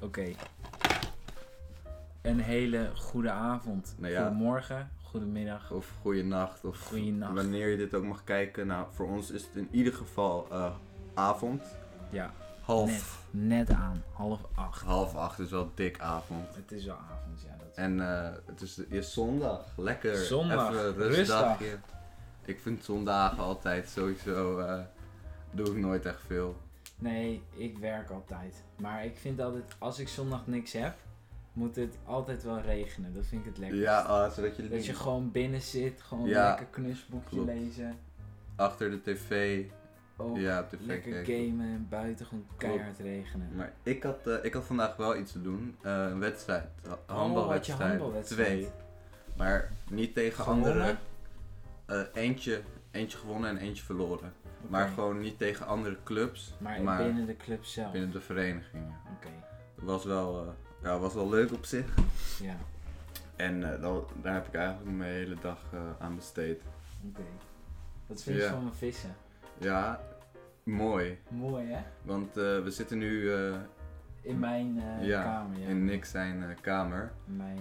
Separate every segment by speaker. Speaker 1: Oké. Een hele goede avond.
Speaker 2: Nou ja.
Speaker 1: Goedemorgen, goedemiddag.
Speaker 2: Of goeienacht. Of
Speaker 1: Goeienacht.
Speaker 2: wanneer je dit ook mag kijken. Nou, voor ons is het in ieder geval eh, avond.
Speaker 1: Ja,
Speaker 2: Half,
Speaker 1: net, net aan, half acht.
Speaker 2: half acht is wel dik avond.
Speaker 1: Het is wel avond, ja. Dat...
Speaker 2: En eh, het is de eerste zondag. Lekker.
Speaker 1: Zondag,
Speaker 2: Even rustdagje. Ik vind zondagen altijd sowieso. eh, doe ik nooit echt veel.
Speaker 1: Nee, ik werk altijd. Maar ik vind altijd, als ik zondag niks heb, moet het altijd wel regenen. Dat vind ik het lekker.
Speaker 2: Ja, ah, zodat je,
Speaker 1: Dat je gewoon binnen zit, gewoon
Speaker 2: Ja.
Speaker 1: lekker knusboekje
Speaker 2: Klopt.
Speaker 1: lezen.
Speaker 2: achter de tv.
Speaker 1: Ook
Speaker 2: ja, op tv
Speaker 1: Oh, lekker
Speaker 2: kijken.
Speaker 1: gamen en buiten gewoon keihard regenen.
Speaker 2: Maar ik had, eh, ik had vandaag wel iets te doen. Eh, een wedstrijd.
Speaker 1: Oh,
Speaker 2: Ha-
Speaker 1: had je
Speaker 2: Handbalwedstrijd.
Speaker 1: handbalwedstrijd?
Speaker 2: Twee. Maar niet tegen
Speaker 1: Gewonnen?
Speaker 2: anderen. Eh, eentje, eentje gewonnen en eentje verloren.
Speaker 1: Oké.
Speaker 2: Maar gewoon niet tegen andere clubs.
Speaker 1: Maar binnen de club zelf.
Speaker 2: binnen de verenigingen.
Speaker 1: Oké,
Speaker 2: Het was wel, eh, ja, was wel leuk op zich.
Speaker 1: ja.
Speaker 2: En eh, dat- daar heb ik eigenlijk mijn hele dag eh, aan besteed.
Speaker 1: Oké. Wat vind je
Speaker 2: Ja.
Speaker 1: van mijn vissen?
Speaker 2: Ja, mooi.
Speaker 1: Mooi hè?
Speaker 2: Want eh, we zitten nu eh,
Speaker 1: In mijn eh,
Speaker 2: Ja,
Speaker 1: kamer, ja.
Speaker 2: in Nick zijn eh, kamer.
Speaker 1: In Mijn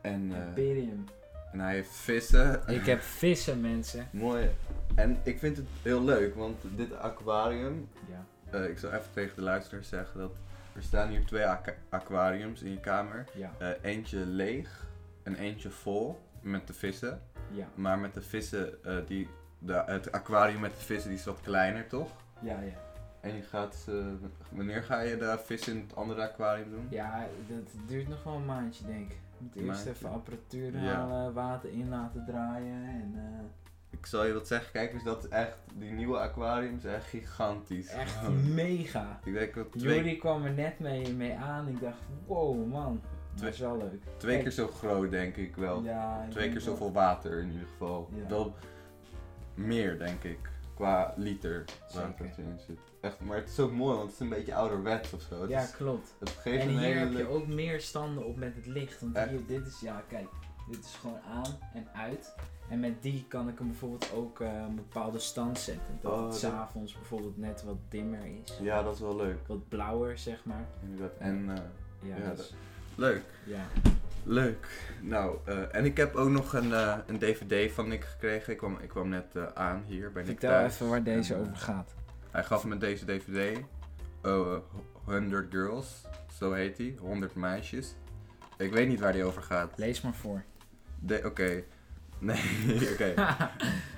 Speaker 1: eh,
Speaker 2: En, eh,
Speaker 1: imperium.
Speaker 2: en hij heeft vissen.
Speaker 1: Ik heb vissen, mensen.
Speaker 2: Mooi. En ik vind het heel leuk, want dit aquarium.
Speaker 1: Ja.
Speaker 2: eh, ik zal even tegen de luisteraars zeggen dat er staan hier twee aqu- aquariums in je kamer.
Speaker 1: Ja.
Speaker 2: Eh, eentje leeg en eentje vol met de vissen.
Speaker 1: Ja.
Speaker 2: Maar met de vissen, eh, die, de, het aquarium met de vissen die is wat kleiner toch?
Speaker 1: Ja, ja.
Speaker 2: En je gaat ze- wanneer ga je de vissen in het andere aquarium doen?
Speaker 1: Ja, dat duurt nog wel een maandje, denk ik. Moet eerst
Speaker 2: Maandje.
Speaker 1: even apparatuur
Speaker 2: Ja.
Speaker 1: halen, water in laten draaien en... eh,
Speaker 2: Ik zal je wat zeggen, kijk eens, dat is echt, die nieuwe aquariums zijn echt gigantisch.
Speaker 1: echt
Speaker 2: Gewoon.
Speaker 1: mega.
Speaker 2: Ik denk dat twee,
Speaker 1: Juri kwam er net mee, mee aan. Ik dacht, wow man, dat
Speaker 2: Twee-
Speaker 1: is wel leuk.
Speaker 2: twee
Speaker 1: Kijk.
Speaker 2: keer zo groot denk ik wel.
Speaker 1: Ja, ik
Speaker 2: Twee
Speaker 1: denk
Speaker 2: keer
Speaker 1: wel.
Speaker 2: zoveel water in ieder geval.
Speaker 1: Ja.
Speaker 2: Wel meer, denk ik. Qua liter water Oh,
Speaker 1: Zeker.
Speaker 2: dat erin zit. Echt, maar het is ook mooi, want het is een beetje ouderwets of zo. Het,
Speaker 1: Ja,
Speaker 2: is-
Speaker 1: klopt.
Speaker 2: het geeft
Speaker 1: En
Speaker 2: een
Speaker 1: hier
Speaker 2: hele
Speaker 1: heb je
Speaker 2: leuke-
Speaker 1: ook meer standen op met het licht. Want
Speaker 2: Echt?
Speaker 1: hier, dit is, ja kijk, dit is gewoon aan en uit. En met die kan ik hem bijvoorbeeld ook eh, een bepaalde stand zetten. Dat
Speaker 2: Oh,
Speaker 1: het
Speaker 2: dat-
Speaker 1: s'avonds bijvoorbeeld net wat dimmer is.
Speaker 2: Ja, dat is wel leuk.
Speaker 1: Wat blauwer, zeg maar.
Speaker 2: Inderdaad. En eh,
Speaker 1: Ja,
Speaker 2: Ja,
Speaker 1: dat is-
Speaker 2: leuk.
Speaker 1: ja.
Speaker 2: Leuk. Nou, eh, en ik heb ook nog een, eh, een dvd van Nick gekregen. Ik kwam, ik kwam net eh, aan hier bij Nick
Speaker 1: vertel
Speaker 2: thuis.
Speaker 1: even waar deze
Speaker 2: En, eh,
Speaker 1: over gaat.
Speaker 2: Hij gaf me deze dvd. Oh, eh, 100 Girls. Zo heet hij. 100 meisjes. Ik weet niet waar die over gaat.
Speaker 1: Lees maar voor.
Speaker 2: De- Oké. Nee, oké.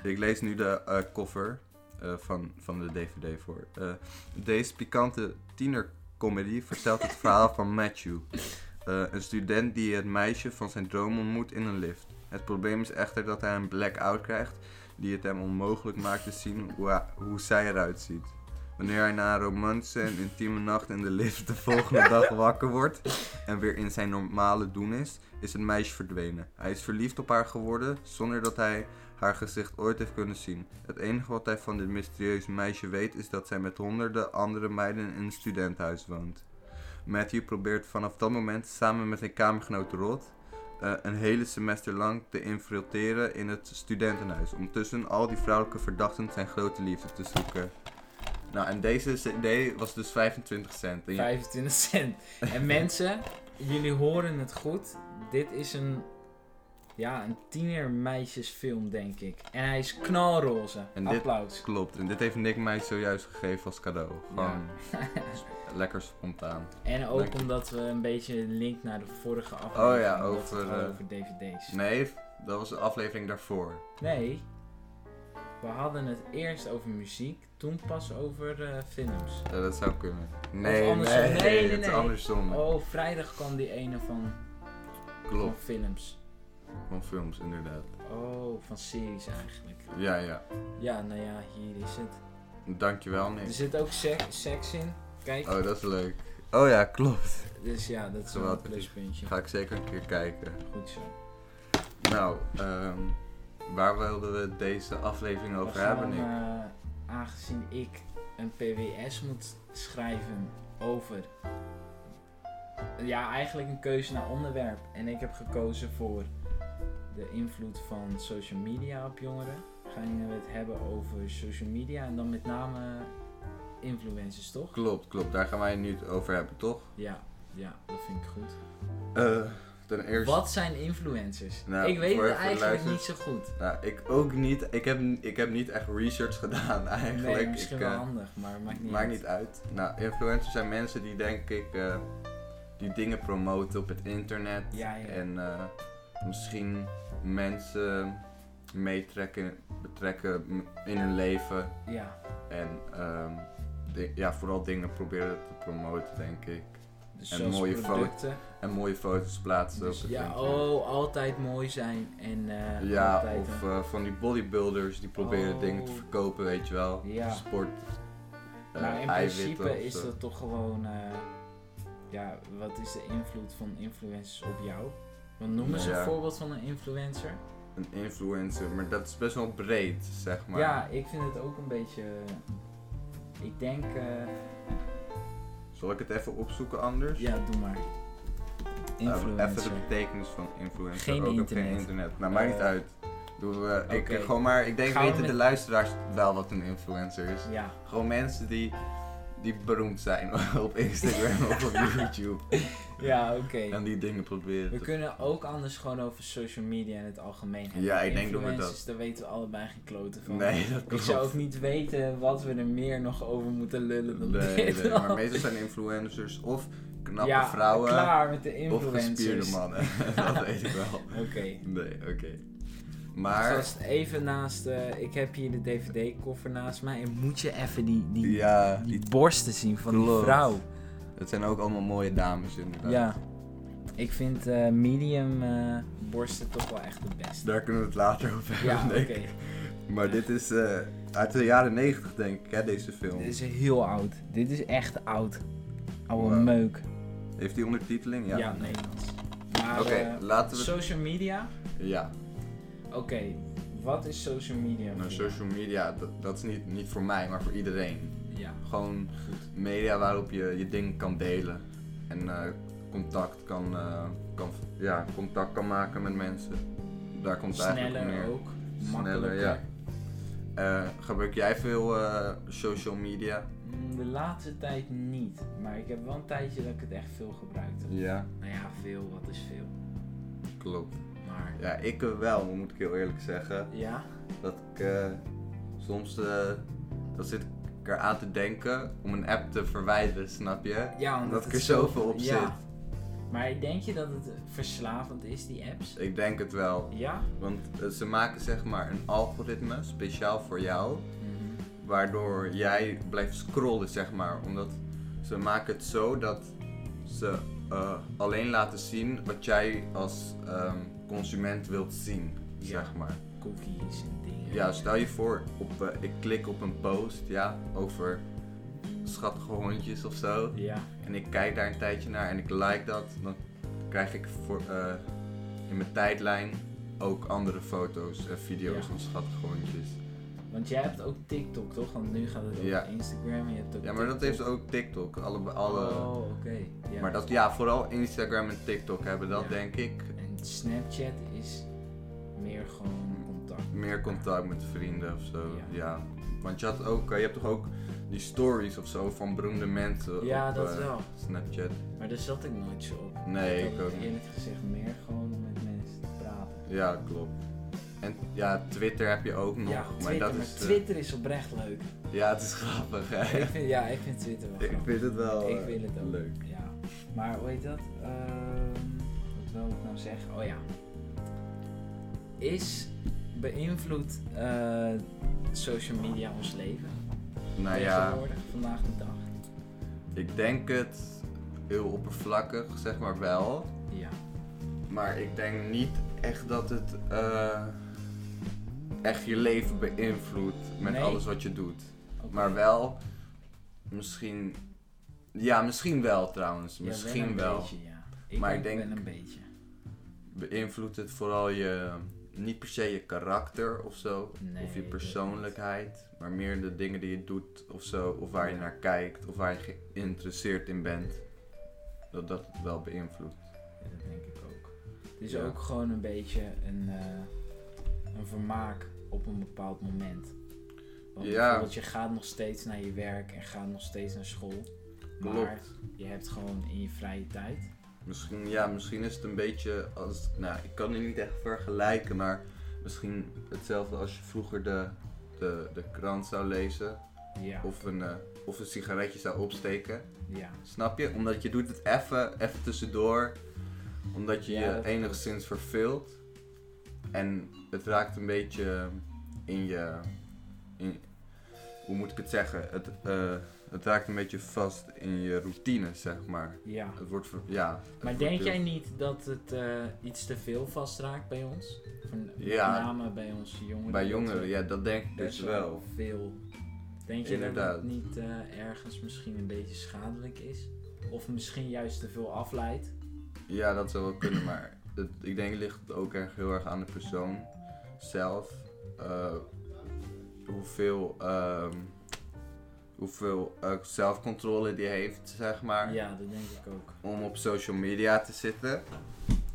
Speaker 2: Ik lees nu de eh, cover eh, van, van de DVD voor. Eh, deze pikante tienercomedy vertelt het verhaal van Matthew. Eh, een student die het meisje van zijn droom ontmoet in een lift. Het probleem is echter dat hij een blackout krijgt die het hem onmogelijk maakt te zien hoe, hij- hoe zij eruit ziet. Wanneer hij na een romantische en intieme nacht in de lift de volgende dag wakker wordt en weer in zijn normale doen is, is het meisje verdwenen. Hij is verliefd op haar geworden zonder dat hij haar gezicht ooit heeft kunnen zien. Het enige wat hij van dit mysterieuze meisje weet is dat zij met honderden andere meiden in een studentenhuis woont. Matthew probeert vanaf dat moment samen met zijn kamergenoot Rod eh, een hele semester lang te infiltreren in het studentenhuis. Om tussen al die vrouwelijke verdachten zijn grote liefde te zoeken. Nou, en deze CD was dus 25 cent. En je-
Speaker 1: 25 cent. En mensen, jullie horen het goed. Dit is een, ja, een tienermeisjesfilm, denk ik. En hij is knalroze.
Speaker 2: En dit-
Speaker 1: Applaus.
Speaker 2: Klopt, en dit heeft Nick mij zojuist gegeven als cadeau. Gewoon sp- lekker spontaan.
Speaker 1: En ook
Speaker 2: Dank je.
Speaker 1: omdat we een beetje een link naar de vorige aflevering
Speaker 2: Oh ja,
Speaker 1: dat
Speaker 2: over,
Speaker 1: het al
Speaker 2: eh,
Speaker 1: over dvd's.
Speaker 2: Nee, dat was de aflevering daarvoor.
Speaker 1: Nee, we hadden het eerst over muziek, toen pas over eh, films.
Speaker 2: Ja, dat zou kunnen. Nee,
Speaker 1: andersom.
Speaker 2: nee,
Speaker 1: Nee, nee,
Speaker 2: het is
Speaker 1: nee.
Speaker 2: andersom.
Speaker 1: Oh, vrijdag kwam die ene van, van
Speaker 2: Klopt,
Speaker 1: films.
Speaker 2: van films inderdaad.
Speaker 1: Oh, van series eigenlijk.
Speaker 2: Ja, ja.
Speaker 1: Ja, nou ja, hier is het.
Speaker 2: Dankjewel
Speaker 1: Er
Speaker 2: Nick.
Speaker 1: zit ook sek- seks in. Kijk,
Speaker 2: Oh, dat is leuk. Oh ja, klopt.
Speaker 1: dus ja, dat is wel een
Speaker 2: Geweldig.
Speaker 1: pluspuntje.
Speaker 2: Ga ik zeker een keer kijken.
Speaker 1: Goed zo.
Speaker 2: Nou, ehm, waar wilden we deze aflevering
Speaker 1: We
Speaker 2: over
Speaker 1: gaan,
Speaker 2: hebben, Nick?
Speaker 1: eh, aangezien ik een PWS moet schrijven over. Ja, eigenlijk een keuze naar onderwerp. En ik heb gekozen voor de invloed van social media op jongeren. Gaan we het hebben over social media en dan met name influencers, toch?
Speaker 2: Klopt, klopt. Daar gaan wij het nu over hebben, toch?
Speaker 1: Ja. Ja, dat vind ik goed.
Speaker 2: Eh, ten eerste...
Speaker 1: Wat zijn influencers?
Speaker 2: Nou,
Speaker 1: ik weet
Speaker 2: voor-
Speaker 1: het
Speaker 2: voor de
Speaker 1: eigenlijk niet zo
Speaker 2: luisteraars.
Speaker 1: goed.
Speaker 2: Nou, ik ook niet. Ik heb, ik heb niet echt research gedaan eigenlijk.
Speaker 1: Nee, misschien
Speaker 2: ik,
Speaker 1: wel
Speaker 2: eh,
Speaker 1: handig, maar maakt niet
Speaker 2: Maakt
Speaker 1: uit.
Speaker 2: niet uit. Nou, influencers zijn mensen die denk ik eh, die dingen promoten op het internet.
Speaker 1: Ja, ja.
Speaker 2: En eh, misschien mensen meetrekken, betrekken m- in hun leven.
Speaker 1: Ja,
Speaker 2: En ehm, di- ja, vooral dingen proberen te promoten, denk ik.
Speaker 1: dus
Speaker 2: En
Speaker 1: zoals
Speaker 2: mooie foto-
Speaker 1: producten.
Speaker 2: En mooie foto's plaatsen
Speaker 1: Dus
Speaker 2: op het
Speaker 1: ja,
Speaker 2: internet.
Speaker 1: oh, altijd mooi zijn en eh
Speaker 2: Ja,
Speaker 1: altijd
Speaker 2: of
Speaker 1: een-
Speaker 2: eh, van die bodybuilders die proberen
Speaker 1: Oh.
Speaker 2: dingen te verkopen, weet je wel.
Speaker 1: Ja.
Speaker 2: Sport. eh,
Speaker 1: maar in
Speaker 2: eiwitten of
Speaker 1: principe is
Speaker 2: zo.
Speaker 1: dat toch gewoon, eh, ja, wat is de invloed van influencers op jou? Want noem eens
Speaker 2: Nou
Speaker 1: een
Speaker 2: ja.
Speaker 1: voorbeeld van een influencer.
Speaker 2: een influencer, maar dat is best wel breed, zeg maar.
Speaker 1: Ja, ik vind het ook een beetje, eh, ik denk, eh,
Speaker 2: Zal ik het even opzoeken anders?
Speaker 1: ja, doe maar.
Speaker 2: Eh,
Speaker 1: Influencer.
Speaker 2: even de betekenis van influencer.
Speaker 1: Geen
Speaker 2: ook op
Speaker 1: internet.
Speaker 2: geen internet. Nou, maakt
Speaker 1: Eh,
Speaker 2: niet uit. Doen we, ik,
Speaker 1: oké.
Speaker 2: gewoon maar, ik denk
Speaker 1: Gaan we
Speaker 2: weten
Speaker 1: met-
Speaker 2: de luisteraars wel wat een influencer is.
Speaker 1: ja,
Speaker 2: Gewoon mensen die, die beroemd zijn op Instagram of op YouTube.
Speaker 1: ja oké.
Speaker 2: En die dingen proberen
Speaker 1: We
Speaker 2: te...
Speaker 1: kunnen ook anders gewoon over social media in het algemeen hebben.
Speaker 2: Ja, ik denk dat we
Speaker 1: Influencers, daar weten we allebei geen kloten van.
Speaker 2: Nee, dat
Speaker 1: Ik
Speaker 2: klopt.
Speaker 1: zou ook niet weten wat we er meer nog over moeten lullen dan
Speaker 2: Nee, nee,
Speaker 1: dit. al.
Speaker 2: maar meestal zijn influencers of knappe
Speaker 1: ja,
Speaker 2: vrouwen
Speaker 1: klaar met de
Speaker 2: of
Speaker 1: influencers.
Speaker 2: gespierde mannen. dat weet ik wel.
Speaker 1: Oké.
Speaker 2: Nee, oké.
Speaker 1: Maar...
Speaker 2: Maar...
Speaker 1: even naast... eh, ik heb hier de dvd-koffer naast mij. En moet je even die, die,
Speaker 2: Ja,
Speaker 1: die
Speaker 2: die,
Speaker 1: borsten zien van die
Speaker 2: Klopt.
Speaker 1: vrouw.
Speaker 2: het zijn ook allemaal mooie dames inderdaad.
Speaker 1: Ja. Ik vind eh, medium eh, borsten toch wel echt de beste.
Speaker 2: Daar kunnen we het later over hebben,
Speaker 1: Ja, oké.
Speaker 2: denk ik. Maar dit is eh, uit de jaren 90 denk ik, hè, deze film.
Speaker 1: Dit is heel oud. Dit is echt oud. Oude
Speaker 2: Wow.
Speaker 1: meuk.
Speaker 2: Heeft die ondertiteling? Ja.
Speaker 1: Ja, Nederlands. Maar
Speaker 2: Oké,
Speaker 1: eh,
Speaker 2: laten we...
Speaker 1: social media?
Speaker 2: Ja,
Speaker 1: Oké, wat is social media?
Speaker 2: nou,
Speaker 1: voor
Speaker 2: social media, dat, dat is niet, niet voor mij, maar voor iedereen.
Speaker 1: jou? Ja,
Speaker 2: Gewoon
Speaker 1: goed.
Speaker 2: media waarop je je dingen kan delen. En eh, contact kan, eh, kan, ja, contact kan maken met mensen. Daar komt het eigenlijk op
Speaker 1: Sneller
Speaker 2: neer.
Speaker 1: ook.
Speaker 2: Sneller,
Speaker 1: makkelijker.
Speaker 2: ja. Eh, gebruik jij veel eh, social media?
Speaker 1: Mm, De laatste tijd niet. Maar ik heb wel een tijdje dat ik het echt veel gebruikte.
Speaker 2: Ja,
Speaker 1: Nou ja, veel, wat is veel.
Speaker 2: klopt.
Speaker 1: Maar
Speaker 2: Ja, ik eh, wel, moet ik heel eerlijk zeggen.
Speaker 1: ja,
Speaker 2: Dat ik eh, soms eh, dan zit ik eraan te denken om een app te verwijderen, snap je?
Speaker 1: ja omdat
Speaker 2: Omdat ik
Speaker 1: het
Speaker 2: er zoveel op
Speaker 1: ja. Maar denk je dat het verslavend is, die apps?
Speaker 2: zit. Ik denk het wel.
Speaker 1: Ja?
Speaker 2: Want eh, ze maken zeg maar een algoritme speciaal voor jou. Mhm. waardoor jij blijft scrollen, zeg maar. Omdat ze maken het zo dat ze eh, alleen laten zien wat jij als ehm, consument wilt zien,
Speaker 1: Ja.
Speaker 2: zeg maar.
Speaker 1: Cookies en dingen.
Speaker 2: Ja, stel je voor, op, eh, ik klik op een post, ja, over schattige hondjes of zo.
Speaker 1: Ja.
Speaker 2: En ik kijk daar een tijdje naar en ik like dat. Dan krijg ik voor, eh, in mijn tijdlijn ook andere foto's en video's
Speaker 1: Ja.
Speaker 2: van schattige hondjes.
Speaker 1: Want jij hebt ook TikTok, toch? Want nu gaat het over
Speaker 2: Ja.
Speaker 1: Instagram en je hebt ook
Speaker 2: Ja, maar dat heeft ook TikTok. Alle, alle,
Speaker 1: Oh, oké. Ja.
Speaker 2: Maar dat, ja, vooral Instagram en TikTok hebben dat,
Speaker 1: Ja.
Speaker 2: denk ik.
Speaker 1: En Snapchat is meer gewoon contact.
Speaker 2: Meer contact met vrienden of zo.
Speaker 1: Ja.
Speaker 2: Ja. Want je, had ook, eh, je hebt toch ook die stories of zo van beroemde mensen
Speaker 1: Ja,
Speaker 2: op
Speaker 1: dat
Speaker 2: eh,
Speaker 1: wel.
Speaker 2: Snapchat.
Speaker 1: Maar daar zat ik nooit zo op.
Speaker 2: Nee,
Speaker 1: had
Speaker 2: ik ook
Speaker 1: het
Speaker 2: niet.
Speaker 1: eerlijk gezegd meer gewoon om met mensen te praten.
Speaker 2: Ja, klopt. En ja, Twitter heb je ook nog.
Speaker 1: ja,
Speaker 2: maar
Speaker 1: Twitter,
Speaker 2: dat
Speaker 1: maar
Speaker 2: is. eh,
Speaker 1: Twitter is oprecht leuk.
Speaker 2: ja, het is grappig, hè?
Speaker 1: ik vind, ja, ik vind Twitter wel
Speaker 2: ik
Speaker 1: grappig.
Speaker 2: vind het wel
Speaker 1: Ik
Speaker 2: eh,
Speaker 1: wil het ook.
Speaker 2: leuk.
Speaker 1: Ja. Maar hoe heet dat? Ehm, wat wil ik nou zeggen? Oh ja. Is beïnvloedt eh, social media ons leven?
Speaker 2: Nou ja,
Speaker 1: Tegenwoordig, vandaag de dag.
Speaker 2: ik denk het heel oppervlakkig, zeg maar wel.
Speaker 1: Ja.
Speaker 2: Maar ik denk niet echt dat het eh, echt je leven beïnvloedt met
Speaker 1: Nee.
Speaker 2: alles wat je doet.
Speaker 1: Oké.
Speaker 2: Maar wel, misschien. Ja, misschien wel trouwens.
Speaker 1: Ja,
Speaker 2: Misschien
Speaker 1: een
Speaker 2: wel.
Speaker 1: beetje, ja. Ik
Speaker 2: Maar
Speaker 1: ook
Speaker 2: ik denk-
Speaker 1: wel een beetje.
Speaker 2: Beïnvloedt het vooral je. Niet per se je karakter of zo.
Speaker 1: Nee,
Speaker 2: of
Speaker 1: ik
Speaker 2: je
Speaker 1: weet
Speaker 2: persoonlijkheid. Maar meer de dingen die je doet of zo. Of waar je
Speaker 1: Ja.
Speaker 2: naar kijkt. Of waar je geïnteresseerd in bent. Dat dat het wel beïnvloedt.
Speaker 1: Ja, dat denk ik ook. Het is
Speaker 2: Ja.
Speaker 1: ook gewoon een beetje een, eh, een vermaak op een bepaald moment. Want
Speaker 2: Ja.
Speaker 1: bijvoorbeeld je gaat nog steeds naar je werk en gaat nog steeds naar school. Maar
Speaker 2: Klopt.
Speaker 1: je hebt gewoon in je vrije tijd.
Speaker 2: Misschien, ja, misschien is het een beetje als. Nou, ik kan het niet echt vergelijken, maar misschien hetzelfde als je vroeger de, de, de krant zou lezen
Speaker 1: Ja.
Speaker 2: of een, eh, of een sigaretje zou opsteken.
Speaker 1: ja.
Speaker 2: Snap je? Omdat je doet het even, even tussendoor, omdat je
Speaker 1: Ja,
Speaker 2: je
Speaker 1: dat
Speaker 2: enigszins verveelt. En het raakt een beetje in je. In, hoe moet ik het zeggen? Het, eh, het raakt een beetje vast in je routine, zeg maar.
Speaker 1: Ja.
Speaker 2: Het wordt, ver- ja. het
Speaker 1: Maar
Speaker 2: wordt
Speaker 1: denk
Speaker 2: heel-
Speaker 1: jij niet dat het eh, iets te veel vastraakt bij ons? Van- Met
Speaker 2: Ja.
Speaker 1: name bij onze jongeren.
Speaker 2: Bij
Speaker 1: Dat eh,
Speaker 2: jongeren,
Speaker 1: er
Speaker 2: ja, dat denk ik
Speaker 1: Best
Speaker 2: dus wel.
Speaker 1: veel. Denk je dat
Speaker 2: Inderdaad.
Speaker 1: het niet eh, ergens misschien een beetje schadelijk is? Of misschien juist te veel afleidt?
Speaker 2: Ja, dat zou wel kunnen, maar het, ik denk ligt het ook erg heel erg aan de persoon zelf. Eh, hoeveel ehm, hoeveel eh, zelfcontrole die heeft, zeg maar.
Speaker 1: Ja, dat denk ik ook.
Speaker 2: Om op social media te zitten.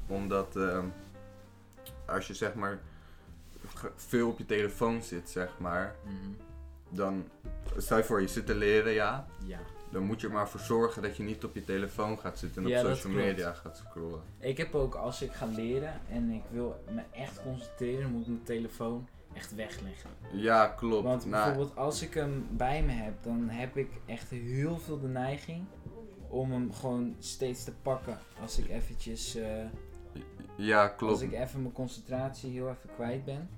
Speaker 2: Omdat ehm, als je zeg maar ge- veel op je telefoon zit, zeg maar.
Speaker 1: Mhm.
Speaker 2: Dan stel je voor, je zit te leren, ja.
Speaker 1: Ja.
Speaker 2: Dan moet je er maar voor zorgen dat je niet op je telefoon gaat zitten en
Speaker 1: Ja,
Speaker 2: op
Speaker 1: dat
Speaker 2: social
Speaker 1: klopt.
Speaker 2: media gaat scrollen.
Speaker 1: Ik heb ook, als ik ga leren en ik wil me echt concentreren, moet ik mijn telefoon echt wegleggen.
Speaker 2: Ja, klopt.
Speaker 1: Want
Speaker 2: Nou,
Speaker 1: bijvoorbeeld als ik hem bij me heb, dan heb ik echt heel veel de neiging om hem gewoon steeds te pakken. Als ik eventjes, eh,
Speaker 2: ja,
Speaker 1: als
Speaker 2: klopt.
Speaker 1: ik even mijn concentratie heel even kwijt ben.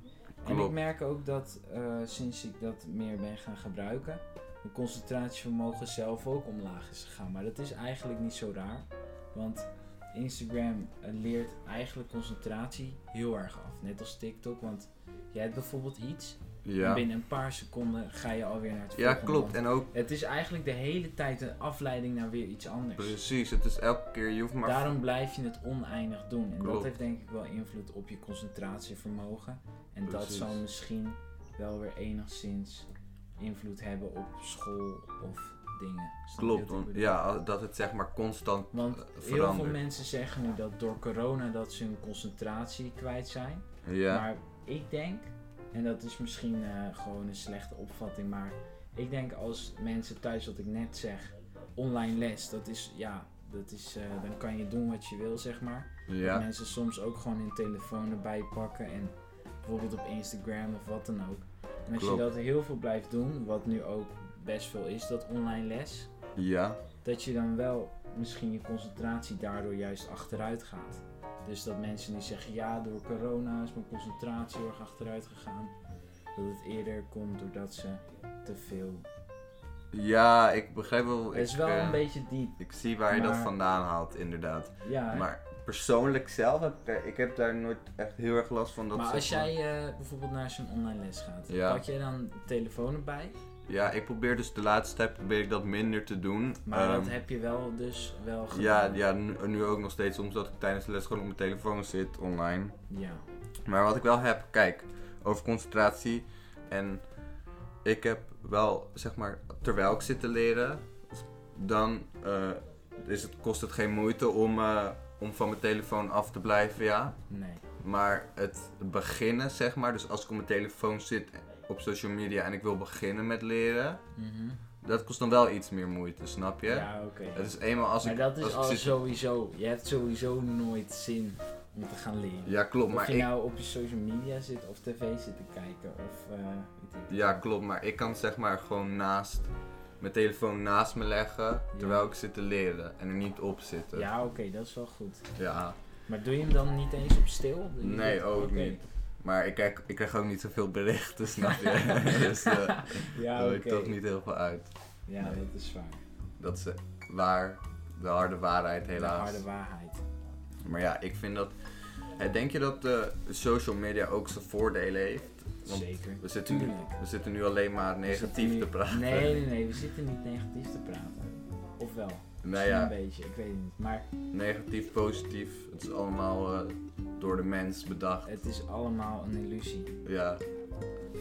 Speaker 1: En ik
Speaker 2: Klopt.
Speaker 1: merk ook dat eh, sinds ik dat meer ben gaan gebruiken, mijn concentratievermogen zelf ook omlaag is gegaan. Maar dat is eigenlijk niet zo raar, want Instagram eh, leert eigenlijk concentratie heel erg af. Net als TikTok, want jij hebt bijvoorbeeld iets en
Speaker 2: Ja,
Speaker 1: binnen een paar seconden ga je alweer naar het
Speaker 2: ja
Speaker 1: volgende.
Speaker 2: klopt.
Speaker 1: land.
Speaker 2: En ook
Speaker 1: Het is eigenlijk de hele tijd een afleiding naar weer iets anders.
Speaker 2: precies, het is elke keer, je hoeft maar.
Speaker 1: Daarom blijf je het oneindig doen. En dat
Speaker 2: Klopt.
Speaker 1: heeft denk ik wel invloed op je concentratievermogen. En dat
Speaker 2: Precies.
Speaker 1: zal misschien wel weer enigszins invloed hebben op school of dingen. Snap je
Speaker 2: klopt,
Speaker 1: wat ik
Speaker 2: want-
Speaker 1: bedoel?
Speaker 2: ja, al- dat het zeg maar constant.
Speaker 1: Want
Speaker 2: eh,
Speaker 1: heel veel
Speaker 2: verandert.
Speaker 1: mensen zeggen nu dat door corona dat ze hun concentratie kwijt zijn.
Speaker 2: Ja,
Speaker 1: Maar ik denk, en dat is misschien eh, gewoon een slechte opvatting, maar ik denk als mensen thuis wat ik net zeg, online les, dat is ja, dat is, eh, dan kan je doen wat je wil, zeg maar. Dat
Speaker 2: ja,
Speaker 1: Mensen soms ook gewoon hun telefoon erbij pakken en bijvoorbeeld op Instagram of wat dan ook. En als
Speaker 2: Klopt.
Speaker 1: je dat heel veel blijft doen, wat nu ook best veel is, dat online les,
Speaker 2: ja.
Speaker 1: dat je dan wel misschien je concentratie daardoor juist achteruit gaat. Dus dat mensen die zeggen, ja, door corona is mijn concentratie heel erg achteruit gegaan. Dat het eerder komt doordat ze te veel...
Speaker 2: Ja, ik begrijp wel.
Speaker 1: Het is
Speaker 2: ik,
Speaker 1: wel
Speaker 2: eh,
Speaker 1: een beetje diep,
Speaker 2: Ik zie waar je dat
Speaker 1: maar-
Speaker 2: vandaan haalt, inderdaad.
Speaker 1: ja. Maar,
Speaker 2: Maar persoonlijk zelf heb ik, daar- ik heb daar nooit echt heel erg last van. Dat zeg
Speaker 1: als jij eh, bijvoorbeeld naar zo'n online les gaat,
Speaker 2: Ja.
Speaker 1: pak jij dan de telefoon erbij?
Speaker 2: Ja, ik probeer dus de laatste tijd probeer ik dat minder te doen.
Speaker 1: Maar
Speaker 2: Ehm,
Speaker 1: dat heb je wel dus wel gedaan.
Speaker 2: Ja, ja nu, nu ook nog steeds soms dat ik tijdens de les gewoon op mijn telefoon zit online.
Speaker 1: Ja.
Speaker 2: Maar wat ik wel heb, kijk, over concentratie. En ik heb wel, zeg maar, terwijl ik zit te leren, dan eh, is het, kost het geen moeite om, eh, om van mijn telefoon af te blijven, ja.
Speaker 1: Nee.
Speaker 2: Maar het beginnen, zeg maar, dus als ik op mijn telefoon zit op social media en ik wil beginnen met leren,
Speaker 1: Mhm.
Speaker 2: dat kost dan wel iets meer moeite, snap je?
Speaker 1: Ja, oké.
Speaker 2: Het is eenmaal als
Speaker 1: Maar
Speaker 2: ik.
Speaker 1: dat
Speaker 2: als
Speaker 1: is
Speaker 2: ik
Speaker 1: al
Speaker 2: zit-
Speaker 1: sowieso... Je hebt sowieso nooit zin om te gaan leren.
Speaker 2: Ja, klopt,
Speaker 1: Of
Speaker 2: maar
Speaker 1: je
Speaker 2: ik.
Speaker 1: nou op je social media zit of tv zit te kijken of eh, weet ik.
Speaker 2: Ja, klopt, maar ik kan zeg maar gewoon naast mijn telefoon naast me leggen terwijl ik zit te leren en er niet op zitten.
Speaker 1: Ja, oké, dat is wel goed.
Speaker 2: Ja.
Speaker 1: Maar doe je hem dan niet eens op stil? Doe je
Speaker 2: Nee,
Speaker 1: dat-
Speaker 2: ook
Speaker 1: oké.
Speaker 2: niet. Maar ik krijg, ik krijg ook niet zoveel berichten, snap je? dus eh
Speaker 1: Ja,
Speaker 2: daar
Speaker 1: Ah, oké.
Speaker 2: wil ik toch niet heel veel uit.
Speaker 1: Ja,
Speaker 2: Nee.
Speaker 1: dat is waar.
Speaker 2: Dat is eh, waar, de harde waarheid
Speaker 1: De
Speaker 2: helaas.
Speaker 1: harde waarheid.
Speaker 2: Maar ja, ik vind dat. eh, Denk je dat eh, social media ook zijn voordelen heeft? Want
Speaker 1: Zeker.
Speaker 2: we zitten, nu,
Speaker 1: Tuurlijk.
Speaker 2: we zitten nu alleen maar
Speaker 1: We zitten
Speaker 2: negatief
Speaker 1: nu-
Speaker 2: te praten.
Speaker 1: Nee, nee, nee, we zitten niet negatief te praten. Of wel?
Speaker 2: Nou
Speaker 1: Misschien
Speaker 2: ja,
Speaker 1: Een beetje, ik weet het niet. Maar
Speaker 2: Negatief, positief, het is allemaal eh, door de mens bedacht.
Speaker 1: het is allemaal een illusie.
Speaker 2: Ja,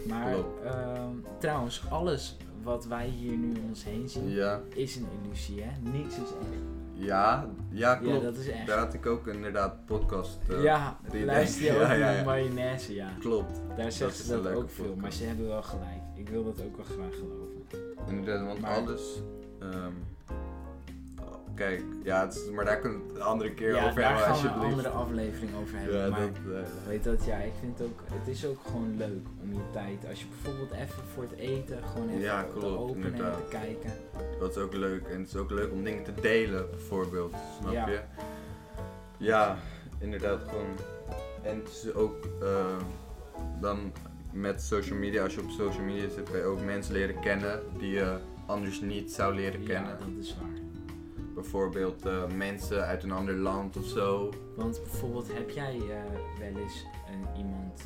Speaker 1: Maar
Speaker 2: Klopt.
Speaker 1: ehm, trouwens, alles wat wij hier nu om ons heen zien
Speaker 2: ja,
Speaker 1: is een illusie, hè? Niks is echt.
Speaker 2: ja, ja
Speaker 1: Ja,
Speaker 2: klopt.
Speaker 1: dat is echt.
Speaker 2: Daar had ik ook inderdaad podcast. eh,
Speaker 1: Ja,
Speaker 2: die
Speaker 1: luister je ook
Speaker 2: denk- ja,
Speaker 1: naar
Speaker 2: ja, ja.
Speaker 1: mayonaise, ja.
Speaker 2: Klopt,
Speaker 1: Daar zeggen
Speaker 2: is
Speaker 1: ze
Speaker 2: een
Speaker 1: dat
Speaker 2: leuke
Speaker 1: ook veel,
Speaker 2: podcast.
Speaker 1: maar ze hebben wel gelijk. Ik wil dat ook wel graag geloven.
Speaker 2: inderdaad, want
Speaker 1: Maar-
Speaker 2: alles. ehm, Kijk, ja, het is- maar daar kunnen we het een andere keer
Speaker 1: ja,
Speaker 2: over
Speaker 1: daar
Speaker 2: hebben,
Speaker 1: gaan we een
Speaker 2: alsjeblieft.
Speaker 1: andere aflevering over hebben.
Speaker 2: Ja,
Speaker 1: maar
Speaker 2: dat, eh,
Speaker 1: weet dat, ja, ik vind het ook, het is ook gewoon leuk om je tijd, als je bijvoorbeeld even voor het eten, gewoon even
Speaker 2: Ja,
Speaker 1: te
Speaker 2: klopt,
Speaker 1: openen en te
Speaker 2: inderdaad.
Speaker 1: kijken.
Speaker 2: dat is ook leuk. En het is ook leuk om dingen te delen, bijvoorbeeld. Snap
Speaker 1: Ja.
Speaker 2: je? Ja, inderdaad. Gewoon. En het is ook eh, dan met social media, als je op social media zit, kan je ook mensen leren kennen die je anders niet zou leren
Speaker 1: Ja,
Speaker 2: kennen.
Speaker 1: dat is waar.
Speaker 2: Bijvoorbeeld eh, mensen uit een ander land of zo.
Speaker 1: Want bijvoorbeeld, heb jij eh, wel eens een, iemand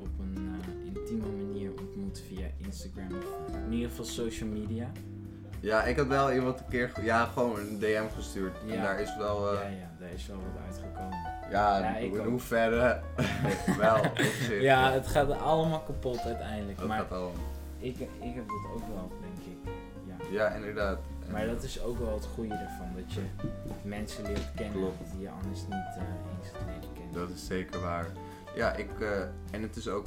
Speaker 1: op een eh, intieme manier ontmoet via Instagram of in ieder geval social media?
Speaker 2: Ja, ik had wel iemand een keer, ja, gewoon een DM gestuurd.
Speaker 1: Ja.
Speaker 2: En daar is wel, eh,
Speaker 1: ja, ja, daar is wel wat uitgekomen.
Speaker 2: ja,
Speaker 1: Ja, ik
Speaker 2: in
Speaker 1: ook.
Speaker 2: hoeverre wel op zich.
Speaker 1: Ja, het gaat allemaal kapot uiteindelijk.
Speaker 2: dat
Speaker 1: maar
Speaker 2: gaat al.
Speaker 1: Ik, ik heb dat ook wel, denk ik. Ja.
Speaker 2: Ja, inderdaad.
Speaker 1: Maar dat is ook wel het goede ervan, dat je mensen leert kennen
Speaker 2: Klopt.
Speaker 1: die je anders niet eh, eens had leren kennen.
Speaker 2: Dat is zeker waar. Ja, ik. eh, en het is ook.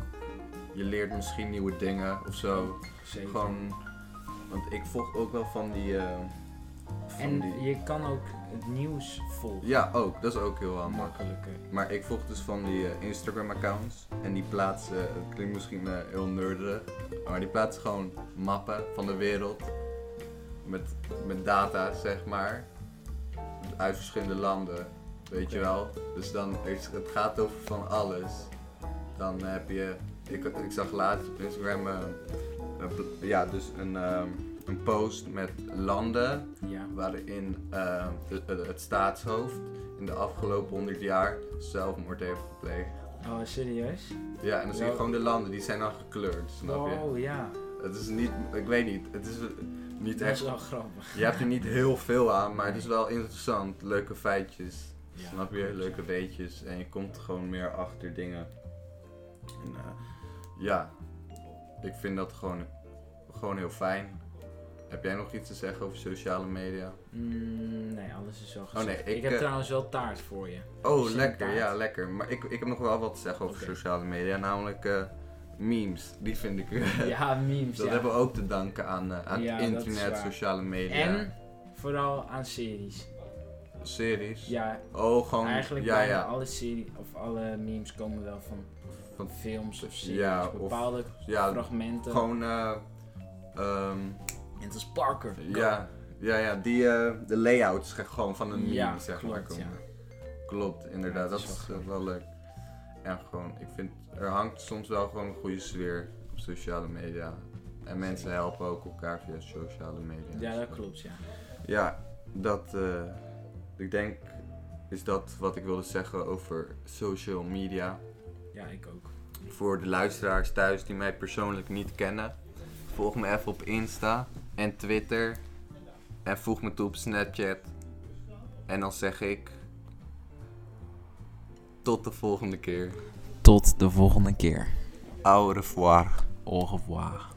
Speaker 2: Je leert misschien nieuwe dingen of zo.
Speaker 1: Zeker.
Speaker 2: Gewoon. Want ik volg ook wel van die. eh, van
Speaker 1: en
Speaker 2: die...
Speaker 1: je kan ook het nieuws volgen.
Speaker 2: Ja, ook. Dat is ook heel handig.
Speaker 1: Makkelijker.
Speaker 2: Maar ik volg dus van die eh, Instagram-accounts. En die plaatsen. Het klinkt misschien eh, heel nerderig. Maar die plaatsen gewoon mappen van de wereld. Met, met data, zeg maar. Uit verschillende landen. Weet je
Speaker 1: Oké.
Speaker 2: wel? Dus dan, is- het gaat over van alles. Dan heb je. Ik, ik zag laatst op Instagram. eh, een pl- ja, dus een, ehm, een post met landen
Speaker 1: Ja.
Speaker 2: waarin eh, de- de- het staatshoofd in de afgelopen 100 jaar zelfmoord heeft gepleegd.
Speaker 1: Oh, serieus?
Speaker 2: Ja, en dan zie je
Speaker 1: Ja.
Speaker 2: gewoon de landen, die zijn dan gekleurd, snap je?
Speaker 1: Oh ja,
Speaker 2: Het is niet, ik weet niet, het is eh, niet
Speaker 1: dat is
Speaker 2: echt,
Speaker 1: wel grappig.
Speaker 2: je hebt er niet heel veel aan, maar het is wel interessant, leuke feitjes,
Speaker 1: Ja.
Speaker 2: snap je? Leuke weetjes en je komt gewoon meer achter dingen. En, eh, ja, ik vind dat gewoon, gewoon heel fijn. Heb jij nog iets te zeggen over sociale media?
Speaker 1: Mm, nee, alles is zo gezegd.
Speaker 2: nee,
Speaker 1: ik,
Speaker 2: ik,
Speaker 1: heb
Speaker 2: eh,
Speaker 1: trouwens wel taart voor je.
Speaker 2: Oh,
Speaker 1: Zin
Speaker 2: lekker,
Speaker 1: taart.
Speaker 2: ja, lekker. Maar ik, ik heb nog wel wat te zeggen over
Speaker 1: Oké.
Speaker 2: sociale media, namelijk eh, memes. Die vind ik.
Speaker 1: Ja, memes.
Speaker 2: dat
Speaker 1: ja.
Speaker 2: hebben we ook te danken aan, eh, aan
Speaker 1: Ja, dat is
Speaker 2: internet,
Speaker 1: waar.
Speaker 2: sociale media.
Speaker 1: En vooral aan series.
Speaker 2: series.
Speaker 1: Ja,
Speaker 2: Oh, gewoon.
Speaker 1: eigenlijk
Speaker 2: ja,
Speaker 1: bijna
Speaker 2: ja.
Speaker 1: alle serie of alle memes komen wel van
Speaker 2: Van-
Speaker 1: films of series,
Speaker 2: Ja, of-
Speaker 1: bepaalde
Speaker 2: ja,
Speaker 1: fragmenten.
Speaker 2: Gewoon. eh, ehm,
Speaker 1: Net als Parker.
Speaker 2: ja, ja, ja. Die, eh, de layouts ge- gewoon van een meme,
Speaker 1: Ja,
Speaker 2: zeg maar.
Speaker 1: klopt,
Speaker 2: komen. Klopt, inderdaad.
Speaker 1: Ja, dat
Speaker 2: dat is,
Speaker 1: is wel
Speaker 2: eh, wel leuk. En gewoon, ik vind, er hangt soms wel gewoon een goede sfeer op sociale media. En mensen helpen ook elkaar via sociale media.
Speaker 1: Ja, dat
Speaker 2: Dus,
Speaker 1: klopt, ja.
Speaker 2: Ja, dat, eh, ik denk, is dat wat ik wilde zeggen over social media.
Speaker 1: Ja, ik ook.
Speaker 2: Voor de luisteraars thuis die mij persoonlijk niet kennen, volg me even op Insta en Twitter. En voeg me toe op Snapchat. En dan zeg ik. Tot de volgende keer.
Speaker 1: Tot de volgende keer.
Speaker 2: Au revoir.
Speaker 1: Au revoir.